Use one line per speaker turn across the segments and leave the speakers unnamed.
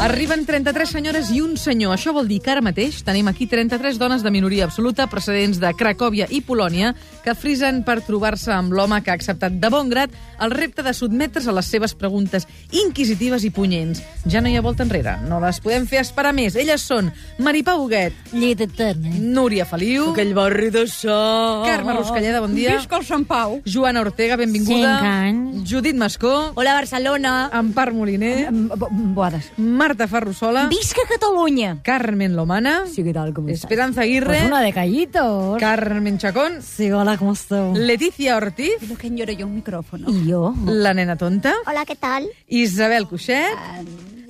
Arriben 33 senyores i un senyor. Això vol dir que ara mateix tenim aquí 33 dones de minoria absoluta procedents de Cracòvia i Polònia que frisen per trobar-se amb l'home que ha acceptat de bon grat el repte de sotmetre's a les seves preguntes inquisitives i punyents. Ja no hi ha volta enrere. No les podem fer esperar més. Elles són Maripau Huguet,
Llet eterna.
Núria Feliu,
Aquell barri de so.
Carme Ruscalleda, bon dia.
Visca el Sant Pau.
Joana Ortega, benvinguda.
Cinc anys.
Judit Mascó,
Hola, Barcelona.
Empar Moliner,
Boades.
Marta Ferrusola,
Visca Catalunya.
Carmen Lomana,
Sí, què tal, com estàs?
Esperanza Aguirre,
Pues una de callitos.
Carmen Chacón,
Sí, hola, com esteu?
Leticia Ortiz,
Lo que lloro yo un micrófono.
I jo?
la nena tonta,
Hola, què tal? Ah,
Isabel Cuixet,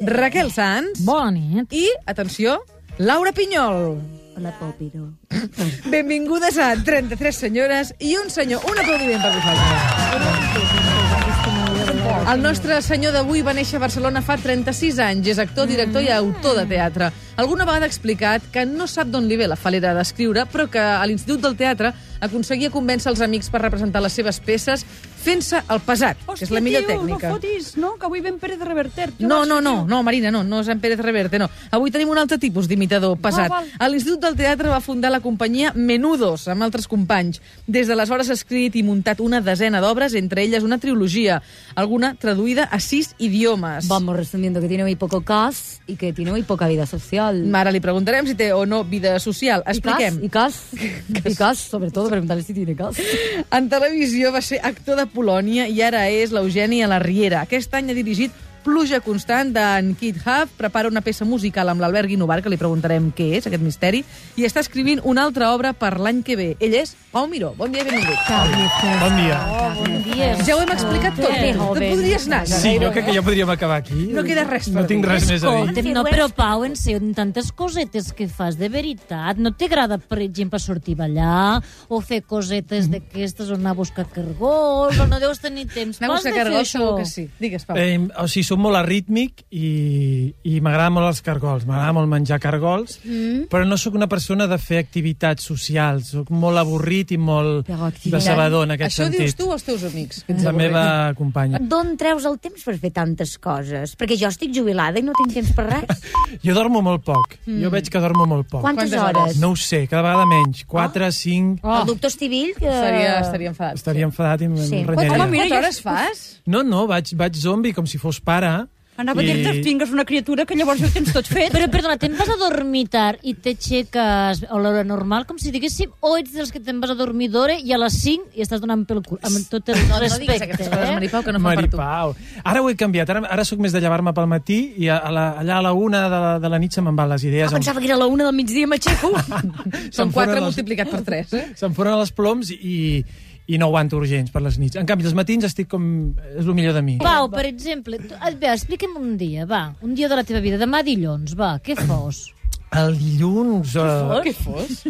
Raquel Sanz
Bona nit.
i, atenció, Laura Pinyol.
Hola, Popiro.
Benvingudes a 33 senyores i un senyor. Un aplaudiment per vosaltres. El nostre senyor d'avui va néixer a Barcelona fa 36 anys. És actor, director i autor de teatre. Alguna vegada ha explicat que no sap d'on li ve la falera d'escriure, però que a l'Institut del Teatre aconseguia convèncer els amics per representar les seves peces fent-se el pesat, que és la millor
tio,
tècnica.
no fotis, no? Que avui ven Pérez Reverter. Tio,
No,
vas,
no, no,
tio.
no, Marina, no, no és en Pérez Reverte, no. Avui tenim un altre tipus d'imitador pesat.
val.
A l'Institut del Teatre va fundar la companyia Menudos, amb altres companys. Des d'aleshores ha escrit i muntat una desena d'obres, entre elles una trilogia, alguna traduïda a sis idiomes.
Vamos resumiendo que tiene muy poco cas y que tiene muy poca vida social.
Ara li preguntarem si té o no vida social. Expliquem.
Y cas, y cas, y cas sobre todo, preguntarle si tiene cas.
En televisió va ser actor de Polònia i ara és l'Eugeni a la Riera. Aquest any ha dirigit Pluja constant d'en Kid Hub, prepara una peça musical amb l'Albert Guinovar, que li preguntarem què és, aquest misteri, i està escrivint una altra obra per l'any que ve. Ell és Pau Miró. Bon dia i benvingut.
Bon dia.
Ja ho hem explicat tot.
Què
Tu
joven.
podries anar.
Sí, jo crec que ja podríem acabar aquí.
No queda res per
No tinc
dir.
res més a dir.
Escolta'm, no, però Pau, en sèrio, amb tantes cosetes que fas, de veritat, no t'agrada, per exemple, sortir a ballar o fer cosetes
Mm.
d'aquestes o anar a buscar cargols, o no deus tenir temps.
Anem a
Pas de
buscar
fer
cargols,
això.
segur que sí. Digues, Pau.
Eh, o sigui, som molt arrítmic i, i m'agrada molt els cargols, m'agrada molt menjar cargols, mm. però no sóc una persona de fer activitats socials, sóc molt avorrit i molt
Però activitat-
decebedor en aquest
Això ho dius
sentit.
tu o els teus amics? Que ets
La
avorrit?
meva companya.
Mm.
D'on treus el temps per fer tantes coses? Perquè jo estic jubilada i no tinc temps per res.
Jo dormo molt poc, jo veig que dormo molt poc.
Mm.
Quantes,
Quantes Ah. hores?
hores?
No ho sé, cada vegada menys, 4, 5...
Oh.
El doctor Estivill... Que...
Estaria, estaria enfadat.
Estaria enfadat i em
Sí.
renyaria.
Home, mira,
Quantes
jo-
hores fas?
No, no, vaig, vaig zombi com si fos pare.
Anava I... a dir-te, tingues una criatura que llavors ho tens tot fet.
Però, perdona, te'n vas a dormir tard i t'aixeques a l'hora normal, com si diguéssim, o ets dels que te'n vas a dormir d'hora i a les 5 i estàs donant pel cul, amb tot el
No, no diguis
respecte.
aquestes coses,
eh?
Maripau, que no fan per tu.
Maripau. Ara ho he canviat. Ara, ara sóc més de llevar-me pel matí i a, a la, allà a la una de la, de la nit se me'n van les idees.
Doncs-
Ah, pensava que era la una del migdia, m'aixeco.
Són quatre
fonen les-
multiplicat per tres, eh?
S'enforen els ploms i, i no aguanto urgents per les nits. En canvi, els matins estic com... És el millor de
Eh,
mi.
Pau, per exemple, tu, a veure, explica'm un dia, va, un dia de la teva vida, demà dilluns, va, què fos?
El dilluns... Uh,
Què fos?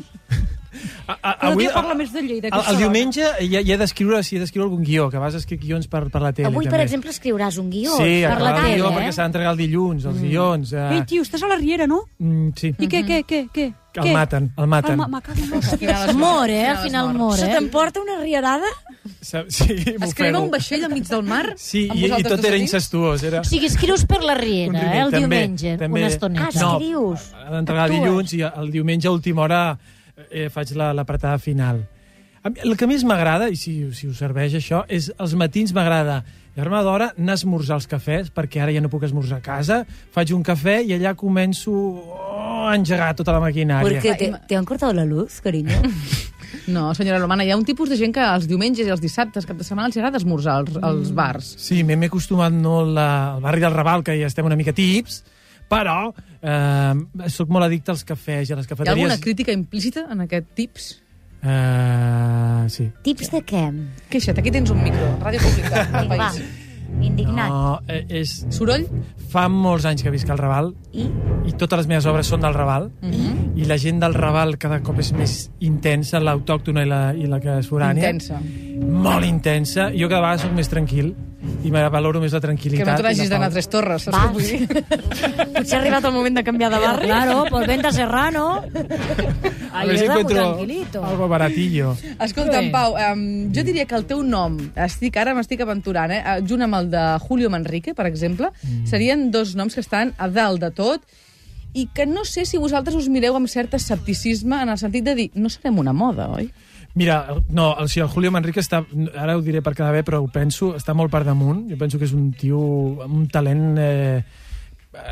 a, a,
Cada dia parla més de Lleida. que
El, el
això.
diumenge ja, ja he d'escriure si he d'escriure algun guió, que vas a escriure guions per, per la tele.
Avui,
també.
per exemple, escriuràs un guió.
Sí,
per la
acabar el
tarda,
guió,
eh?
perquè s'ha d'entregar el dilluns, els guions.
Ei,
Uh,
tio, estàs a la Riera, no?
mm, sí,
I què, què, què, què?
el maten, el
Ah,
maten.
ma, ma, cago en l'os.
Mor, eh? Al final mor,
Se
eh?
t'emporta una riarada?
Sa- Sí,
Es crema
m'ofego.
un vaixell enmig del mar?
Sí,
amb
i, i
vosaltres
tot
dos
era
amics?
incestuós. Era...
O sigui, escrius per la
un
Riera, eh,
rímel.
el
També-
diumenge,
també-
una estoneta.
Ah, sí. escrius.
No, d'entregar dilluns i el diumenge a última hora eh, faig la- l'apretada final. A mi- El que més m'agrada, i si, si us serveix això, és els matins m'agrada llevar-me d'hora, anar a esmorzar els cafès, perquè ara ja no puc esmorzar a casa, faig un cafè i allà començo oh, a engegar tota la maquinària.
Perquè te, te han cortado la luz, carinyo.
No, senyora Lomana, hi ha un tipus de gent que els diumenges i els dissabtes, cap de setmana, els agrada esmorzar als,
Mm.
als bars.
Sí, m'he m'he acostumat molt a- al barri del Raval, que ja estem una mica tips, però eh, sóc molt addicte als cafès i a les
Hi ha
cafeteries.
alguna crítica implícita en aquest tips?
Eh, sí.
Tips de què?
Queixa't, aquí tens un micro. Ràdio Pública, al
Va,
país.
indignat.
No, eh, és...
Soroll?
Fa molts anys que visc al Raval
I?
i totes les meves obres són del Raval
Mm -hmm.
i la gent del Raval cada cop és més intensa, l'autòctona i la, i la que és forània.
Intensa.
Molt intensa. Jo cada vegada sóc més tranquil i me valoro més la
Que
tranquil·litat.
no
i
te
la
n'hagis
pau.
d'anar a Tres Torres, saps què
Vas.
vull dir?
Potser ha arribat el moment de canviar de barri.
Claro, pues vente a Serrano.
A
Ahí
ver si
está muy
encuentro
tranquilito.
algo baratillo.
Escolta, en Pau, um, jo diria que el teu nom, estic ara m'estic aventurant, eh, eh, junt amb el de Julio Manrique, per exemple, serien dos noms que estan a dalt de tot i que no sé si vosaltres us mireu amb cert escepticisme en el sentit de dir no serem una moda, oi?
Mira, el- no, el, sí, el Julio Manrique està, ara ho diré per quedar bé, però ho penso, està molt per damunt. Jo penso que és un tio amb un talent eh,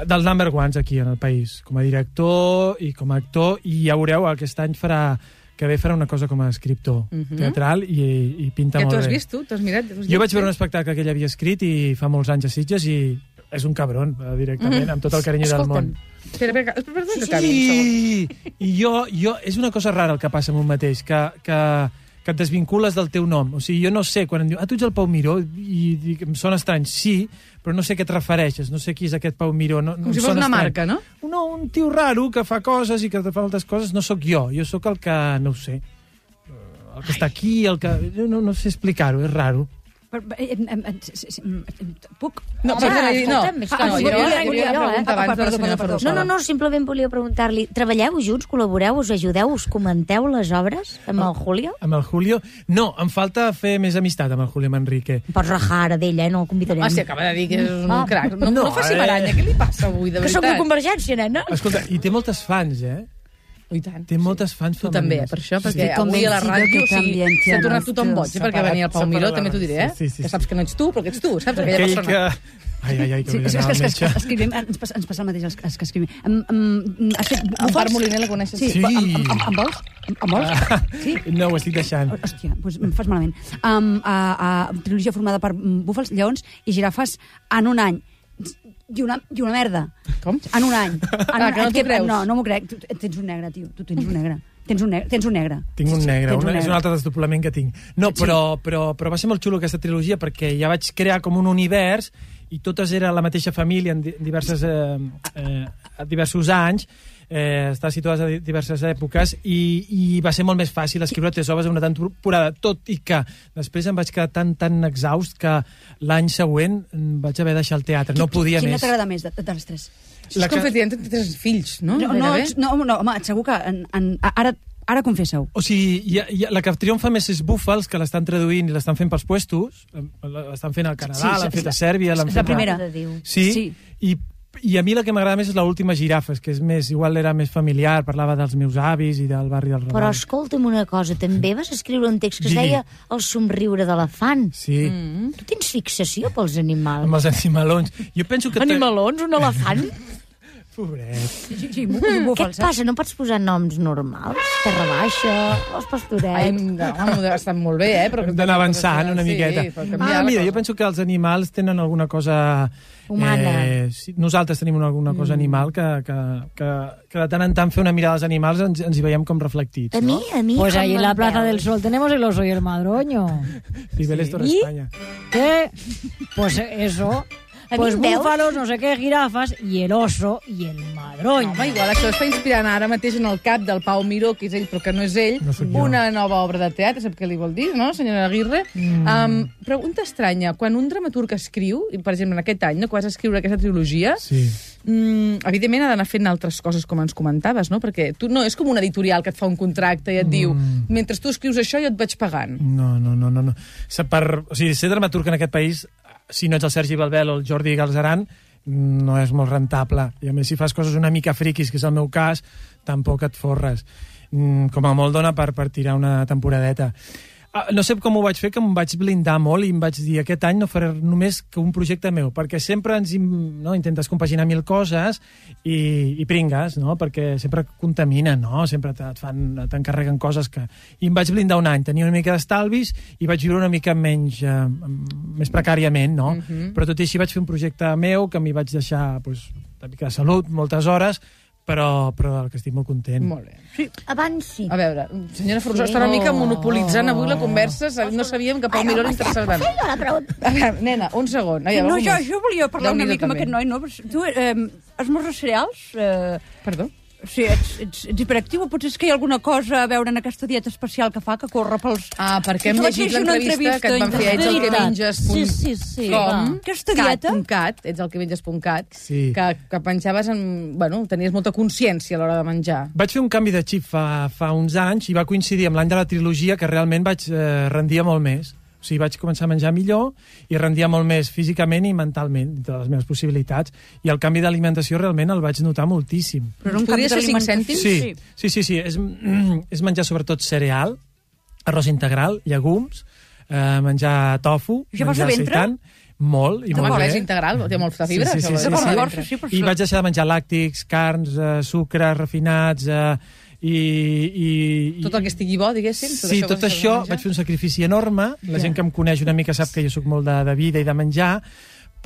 dels number ones aquí en el país, com a director i com a actor, i ja veureu, aquest any farà que bé farà una cosa com a escriptor
Mhm.
teatral i, i pinta
que
molt
tu
bé.
has vist, tu? T'has mirat? T'has
Jo vaig veure un espectacle que ell havia escrit i fa molts anys a Sitges i és un cabron, eh, directament, amb tot el carinyo del
Mhm. Escolta'm.
món.
Espera, espera, espera, espera, espera, que acabi, un segon.
I, i jo, jo, és una cosa rara el que passa amb un mateix, que, que, que et desvincules del teu nom. O sigui, jo no sé, quan em diu, ah, tu ets el Pau Miró, i, dic, em sona estrany, sí, però no sé a què et refereixes, no sé qui és aquest Pau Miró. No, no
Com
em
si fos
sona
una
estrany.
marca, no?
No, un tio raro que fa coses i que fa moltes coses, no sóc jo, jo sóc el que, no ho sé, eh, el que està aquí, el que... No, no, no sé explicar-ho, és raro.
Per, eh, em, em, em, s- s- em, em, puc?
No,
Home,
perdona, no.
escolta'm, és que
Ah,
no,
jo
jo-
volia-
jo-
volia
jo, eh?
preguntar
Ah,
abans de la
perdó,
senyora
perdó, perdó.
Ferrusola.
No, no, no, simplement volia preguntar-li, treballeu junts, col·laboreu, us ajudeu, us comenteu les obres amb el Julio?
Amb el Julio... No, em falta fer més amistat amb el Julio Manrique.
Em pots rajar ara d'ella, eh? No el convidarem.
Ah, sí, acaba de dir que és un
Ah.
crac. No, no,
No,
faci
eh.
baralla, què li passa avui, de
que sóc de
veritat? Ah.
Convergència, nena.
Escolta, i té moltes fans, eh?
I tant.
Té moltes fans
Tu
femenines.
també, eh, per això, perquè
Estic
avui a la
convencida
ràdio
que
o sigui,
també en
s'ha
tenen
tornat tothom
els
boig, eh,
teus.
perquè venia el Pau
Separat,
Miró, també t'ho diré, eh?
sí, sí, sí,
que
sí.
saps que no ets tu, però que ets tu, saps? Aquella
Aquell que...
persona.
Ai, ai, ai, que
Sí,
vull
és que,
anar
és que,
al
és que
metge.
escrivim, ens, passa, ens passa el mateix als, als que escrivim. Em, em, has fet
En Part
bufes?
Moliner la coneixes?
Sí,
Sí.
sí. Em, em, em, em vols? Em, em vols?
Ah,
Sí?
No, ho estic deixant.
Hòstia, doncs em fas malament. Um, a, a, trilogia formada per mm, búfals, lleons i girafes en un any. I una, I una merda.
Com?
En un any. En
Ah,
un
que no
any.
t'ho creus.
No, no m'ho crec. Tu, tens un negre, tio. Tu tens un negre. Tens un negre. Tens un negre.
Tinc un negre,
Tens
una, és un altre desdoblament que tinc. No, però, però, però va ser molt xulo aquesta trilogia perquè ja vaig crear com un univers i totes eren la mateixa família en di- diverses, eh, eh, diversos anys, eh, està situades a di- diverses èpoques i, i va ser molt més fàcil escriure tres obres en una temporada, tot i que després em vaig quedar tan, tan exhaust que l'any següent mm, vaig haver de deixar el teatre, no podia
Quina
més.
t'agrada més de, de, de les tres?
Això és com fer tenen tres fills, no?
No, no,
Gairebé.
ets- no, no, home, segur que en, en, ara, ara confessa-ho.
O sigui, hi ha, hi ha, la que triomfa més és Búfals, que l'estan traduint i l'estan fent pels puestos. Eh, L'estan fent al Canadà,
Sí, sí,
l'han
és
fet
la-
a Sèrbia... l'han
és
fet
la
a-
primera.
Mare de Déu.
Sí, sí.
Sí.
I, i a mi la que m'agrada més és l'última Girafes, que és més, igual era més familiar, parlava dels meus avis i del barri del Raval.
Però escolta'm una cosa, també vas escriure un text que es
Digui.
deia El somriure d'elefant.
Sí,
Mm.
Tu tens fixació pels
amb
animals.
els animalons. Jo penso que... te-
Animalons, un elefant?
Pobret.
Sí, sí,
Què
búfals,
et passa? No pots posar noms normals? Terra baixa,
Ai,
els pastorets...
no, no, ha estat molt bé, eh? Però
Hem d'anar avançant una
sí,
miqueta.
per canviar
ah,
la
mira,
cosa.
jo penso que els animals tenen alguna cosa...
Humana.
Eh, sí, nosaltres tenim una- alguna
Mm.
cosa animal que, que, que, que de tant en tant fer una mirada als animals ens, ens hi veiem com reflectits.
A mi, a mi...
Pues
com
ahí en la
me'n
Plaza
veus?
del Sol tenemos el oso y el madroño.
Niveles Torre
¿Y?
España.
¿Qué? Pues eso.
A
Pues
mí, ¿veus?
búfalos, no sé qué, girafas y el oso y el madroño.
Home, igual això està inspirant ara mateix en el cap del Pau Miró, que és ell, però que no és ell,
No sóc jo.
una nova obra de teatre, sap què li vol dir, no, senyora Aguirre? Mm. Um, pregunta estranya, quan un dramaturg escriu, i per exemple en aquest any, no, que vas escriure aquesta trilogia,
Sí.
mm, evidentment ha d'anar fent altres coses, com ens comentaves, no? Perquè tu no és com un editorial que et fa un contracte i et mm. diu mentre tu escrius això jo et vaig pagant.
No, no, no, no. no. Sa- Per, o sigui, ser dramaturg en aquest país, si no ets el Sergi Balbel o el Jordi Galzeran, no és molt rentable. I a més, si fas coses una mica friquis, que és el meu cas, tampoc et forres. Mm, com a molt dona per, per tirar una temporadeta. Ah, No sé com ho vaig fer, que em vaig blindar molt i em vaig dir aquest any no faré només que un projecte meu, perquè sempre ens, im- no, intentes compaginar mil coses i, i pringues, no? perquè sempre contaminen, no? sempre te- et fan- t'encarreguen coses que... I em vaig blindar un any, tenia una mica d'estalvis i vaig viure una mica menys, eh, mm, més precàriament, no? Mm -hmm. però tot i així vaig fer un projecte meu que m'hi vaig deixar pues, una mica de salut, moltes hores, però, però del que estic molt content.
Molt bé.
Abans
Eh?
sí.
A veure, senyora Ferrusola,
Sí,
està una mica
no.
monopolitzant avui la conversa, sab- Oh. no sabíem que Pau Miró era interessant.
Jo la pregunta...
A veure, nena, un segon. Ai,
No,
un
jo,
moment.
jo volia parlar una
Déu-n'hi-do,
mica amb
també.
aquest noi, no? Tu eh, esmorzo cereals? Eh,
Perdó?
si ets, ets, ets hiperactiu, o potser és que hi ha alguna cosa a veure en aquesta dieta especial que fa que corre pels...
Ah, perquè hem
Jo vaig
llegit
llegir una
l'entrevista que et van fer
entrevista
a ets el que
Veritat.
menges.
Sí, sí, sí,
Com?
va.
Aquesta
Cat,
dieta?
un Cat, ets el que menges punt cat,
Sí.
que, que pensaves en... Bueno, tenies molta consciència a l'hora de menjar.
Vaig fer un canvi de xip fa, fa uns anys i va coincidir amb l'any de la trilogia que realment vaig eh, rendir molt més. O sigui, vaig començar a menjar millor i rendia molt més físicament i mentalment, de les meves possibilitats. I el canvi d'alimentació realment el vaig notar moltíssim.
Però era un
Podria
canvi
ser cinc
d'alimentació.
cèntims?
Sí, sí, sí, sí. És, és menjar sobretot cereal, arròs integral, llegums, eh, menjar tofu,
Això fas de
menjar
ventre?
seitan, molt i
Home,
molt
clar,
bé.
Ah, és integral, té molta fibra.
Sí, sí,
això eh?
sí,
vol
sí,
dir.
sí.
Llavors, sí, per
I
això-
vaig deixar de menjar làctics, carns, eh, sucres refinats... Eh, i, i, i,
Tot el que estigui bo, diguéssim.
Sí,
que
tot
s'ha de
això
menjar.
vaig fer un sacrifici enorme. La gent que em coneix una mica sap que jo sóc molt de, de vida i de menjar,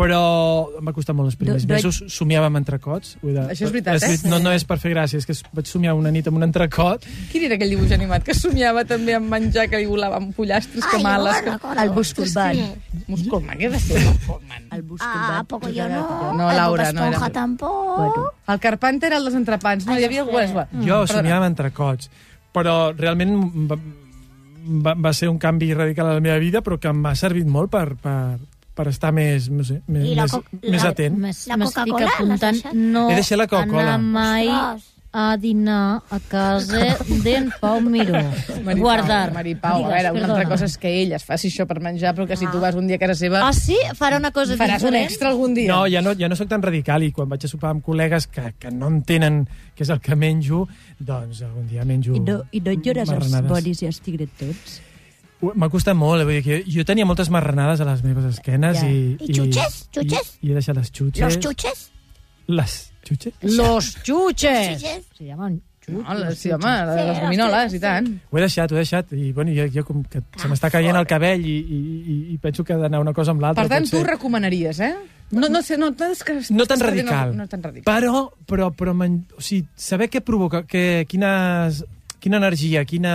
però em va costar molt els primers
Do- do-
mesos. Somiava amb entrecots. Ho he De...
Això és veritat, eh?
No, no és per fer gràcies, que és- vaig somiar una nit amb un entrecot.
Quin era aquell dibuix animat que somiava també amb menjar que li volava amb pollastres,
Ai,
camales...
no,
Que...
recordo.
El Busculban.
Musculman, què va ser Musculman?
El Busculban.
Ah, poco yo no.
No,
el
Laura,
Bob
no era.
Esponja tampoc.
Bueno.
El Carpanta era el dels entrepans, no? Hi havia algú... Mm.
Jo somiava amb entrecots. Però realment va, va, va ser un canvi radical a la meva vida, però que em va servir molt per, per, per estar més, no sé, més,
I la
més,
co-
més
la-
atent.
La
M'estic
Coca-Cola,
apuntant
l'has deixat?
no
He deixat la Coca-Cola.
anar mai
Ostres.
a dinar a casa d'en Pau Miró.
Maripau,
Guardar.
Maripau, a veure, una altra cosa és que ell es faci això per menjar, però que si tu vas un dia a casa seva
Ah, sí? Farà una cosa
faràs un
diferent?
extra algun dia.
No, ja no, ja no sóc tan radical i quan vaig a sopar amb col·legues que, que no entenen què és el que menjo, doncs algun dia menjo
I no, i no llores els
marranades.
bonis i els tigretots?
Ui, M'ha costat molt, eh? vull dir que jo tenia moltes marranades a les meves esquenes
Ja.
i...
I xutxes? Xutxes?
I, i he deixat les xutxes.
Los chuches.
Les xutxes?
Los chuches.
Chuches.
Se llaman chuches.
No, les, sí, home,
Sí,
les
les
gominoles,
té,
i tant.
Ho he deixat, ho he deixat. I, bueno, jo, jo com que
Ah,
se m'està caient el cabell i, i, i, i penso que ha d'anar una cosa amb l'altra.
Per tant, tu
potser.
recomanaries, eh? No, no sé, no, és que...
No tan
és que
radical.
No, no tan radical.
Però, però, però men... o sigui, saber què provoca, que, quines, quina energia, quina,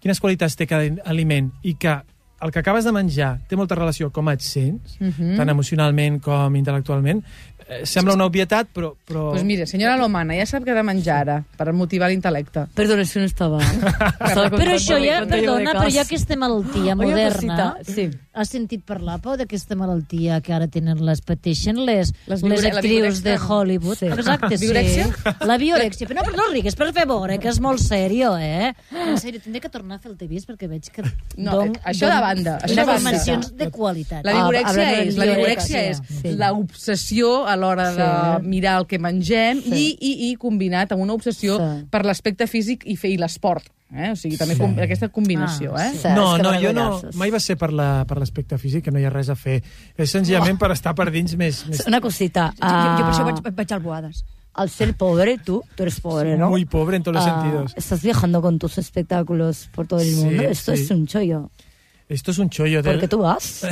quines qualitats té cada aliment i que el que acabes de menjar té molta relació com et sents,
Mhm.
tant emocionalment com intel·lectualment. Eh, sembla una obvietat, però... però...
Doncs pues mira, senyora Lomana, ja sap que ha de menjar ara per motivar l'intel·lecte.
Perdona, si no estava... eh? estava
Però això ja,
contemplando de
perdona, però
cas.
hi ha aquesta malaltia
Oye,
moderna.
cosita, sí.
Has sentit parlar, Pau, d'aquesta malaltia que ara tenen les pateixen les,
Les
les,
viure-
les
la
actrius
viurexia,
de
no?
Hollywood.
Sí.
Exacte, sí.
Viurexia?
La viorexia. Però no, però no rigues, per favor, eh, que és molt sèrio, eh? En sèrio, tindré que tornar a fer el tevis perquè veig que...
No, eh, això de banda, això de
unes
banda.
versions de qualitat.
La vigorexia
hablando de
és, la vigorexia és
vigorexia.
Sí.
l'obsessió a l'hora de mirar el que mengem i, i, i combinat amb una obsessió
Sí.
per l'aspecte físic i fer i l'esport. Eh? O sigui, també com, aquesta combinació, eh?
sí. Saps
No,
que
no, jo no,
vergonyoses.
mai va ser per la- per l'aspecte la, físic, que no hi ha res a fer. És senzillament per estar per dins més... més...
Una cosita.
Jo, jo per això
ah,
vaig, vaig al Boades.
Al ser pobre, tú, tú eres pobre, ¿no?
Muy pobre en todos los
Ah,
sentidos.
Estás viajando con tus espectáculos por todo el
Sí,
mundo. Esto
sí.
es un chollo.
Esto es un chollo. de-
Porque tú vas.
Ah.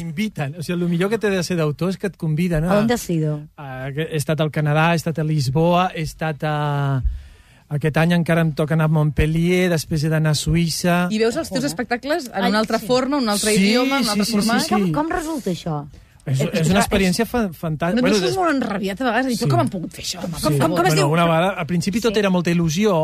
M'inviten. O sigui, el millor que té de ser d'autor és que et conviden
¿A dónde has ido?
Ah, He estat al Canadà, he estat a Lisboa, he estat a... Aquest any encara em toca anar a Montpellier, després he d'anar a Suïssa...
I veus els teus espectacles en
Ai,
una altra
sí.
forma, un altre
Sí,
idioma, un
sí,
altre
sí, sí,
format...
sí.
Com, com resulta això?
És, és una experiència fa, fantàstica.
No, tu
des-
sents molt enrabiat a vegades, i tu
Sí.
com han pogut fer això? home, per
Sí.
favor?
bueno, Una vegada, al principi tot era molta il·lusió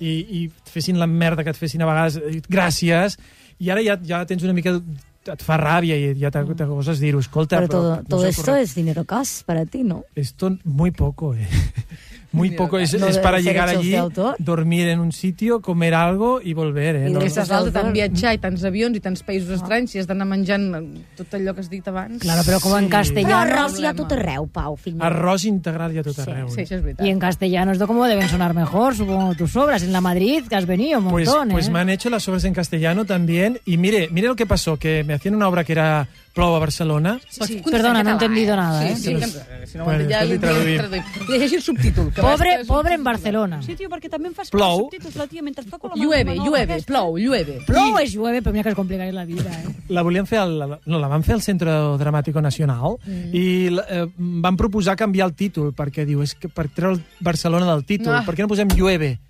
i, i et fessin la merda que et fessin a vegades, eh, gràcies, i ara ja, ja tens una mica... et fa ràbia i ja t'acoses dir-ho, escolta...
Pero
però
todo,
no
todo
sé,
esto
correcte.
es dinero cash para ti, ¿no?
Esto muy poco, eh. Muy poco. Es,
Lo
es
de
para
los
llegar
derechos
allí,
de autor.
dormir en un sitio, comer algo y volver, eh.
Y
No,
de
Que
esas-
estàs dalt de tant
Salvador.
viatjar i tants avions i tants països estranys i has d'anar menjant tot allò que has dit abans.
Claro, però com en
Però
castellano...
arròs hi ha a tot arreu, Pau, fill meu.
Arròs integral i a tot arreu.
Sí,
eh.
això és
Y
veritat.
en castellano es como deben sonar mejor, supongo tus obras, en la Madrid, que has venido un
Pues,
montón,
pues
¿eh?
me han hecho las obras en castellano también. Y mire, mire lo que pasó, que me hacían una obra que era Plou a Barcelona.
Sí.
Perdona, no he entendido nada,
Sí,
eh?
sí,
Doncs-
que- si no ho
Bueno,
entenc, ja
després
li
li traduïm.
traduïm. Llegeixi el subtítol. que abans
Pobre,
era
pobre
subtítol.
en Barcelona.
Sí, tio, perquè també em fas
Plou.
subtítols, la tia, mentre toco la mà.
Llueve,
la mà
llueve,
aquesta.
plou, llueve.
Plou es llueve, però mira que es complicaré la vida, eh?
La volien fer al, la- no, la van fer al Centre Dramàtico Nacional mm. i la- eh, van proposar canviar el títol perquè diu, és que per treure el Barcelona del títol,
Ah.
per què no posem Llueve?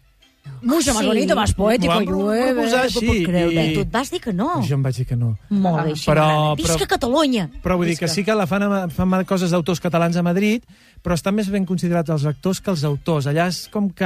Mucho más bonito, más poético,
Ho van pro-
llueve.
proposar
no t'ho puc
així.
creure.
Tu et vas dir que no.
Jo em vaig dir que no.
Molt bé,
Però, però,
Visca Catalunya.
Però vull dir que sí que la fan, a- fan coses d'autors catalans a Madrid, però estan més ben considerats els actors que els autors. Allà és com que...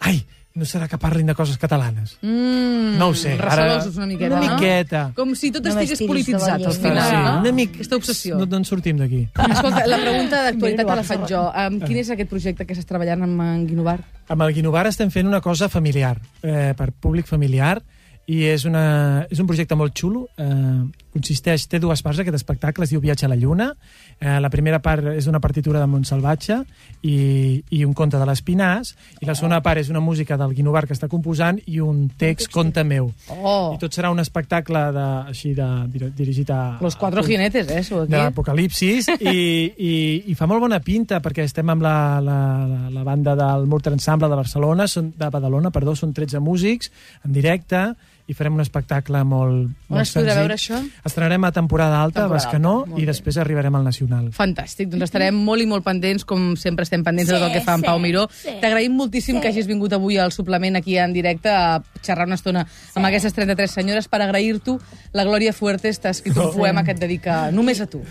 Ai, no serà que parlin de coses catalanes.
Mm,
No ho sé, ara-
Recelosos una miqueta,
una
no?
miqueta.
Com si tot
No
estigués
m'estiris
polititzat, al
davant
final,
sí,
no?
una mica...
Aquesta obsessió.
No, no en sortim d'aquí.
Escolta, la pregunta d'actualitat te la faig jo. Um, quin és aquest projecte que estàs treballant amb en Guinovar?
Amb el Guinovar estem fent una cosa familiar, eh, per públic familiar, i és, una, és un projecte molt xulo. Eh, consisteix, té dues parts aquest espectacle, es diu Viatge a la Lluna. Eh, la primera part és una partitura de Montsalvatge i, i un conte de l'Espinàs, i la segona part és una música del Guinovar que està composant i un text conte meu.
Oh,
I tot serà un espectacle de, així de, dir- dirigit a...
los cuatro
a-
jinetes, eh, sou aquí.
d'Apocalipsis i, i, i fa molt bona pinta perquè estem amb la, la, la- la banda del Murter Ensemble de Barcelona, són, de Badalona, perdó, són 13 músics en directe i farem un espectacle molt,
On
molt
es podrà
senzill.
veure això?
Estrenarem a temporada alta,
Temporada
temporada Bascanó,
alta, molt
i
bé.
després arribarem al Nacional.
Fantàstic, doncs estarem molt i molt pendents, com sempre estem pendents de tot el que fa en
Sí,
Pau
sí,
Miró.
sí.
T'agraïm moltíssim que hagis vingut avui al suplement aquí en directe a xerrar una estona amb aquestes 33 senyores per agrair-t'ho. La Glòria Fuertes t'ha escrit un poema que et dedica només a tu.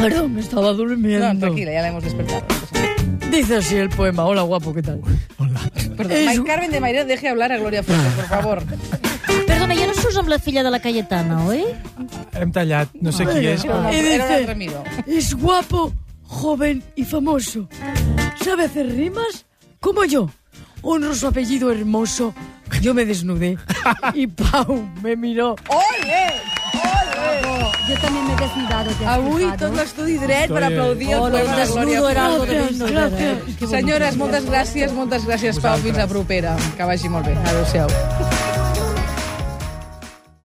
Perdón, me estaba
No,
durmiendo.
tranquila, ya la hemos despertado.
Dice así el poema. Hola, guapo, ¿qué tal?
Perdón, Mari Carmen de Mairena, deje hablar a Gloria Fuertes, por favor.
Perdona, ja no surts amb la filla de la Cayetana, oi?
Hem tallat, no sé qui és, però...
Y
Era un
dice,
altre Miró.
es guapo, joven y famoso. Sabe hacer rimas como yo. Honro su apellido hermoso. Yo me desnudé y Pau me miró.
Yo también me he desnudado. ¿te has
Avui
fijado?
tot l'estudi dret per aplaudir el poema de Glòria
Desnudo era algo de
Fuertes.
lindo, era, eh?
Senyores, moltes gràcies, moltes gràcies, Pau. Fins a propera. Que vagi molt bé. Adéu-siau.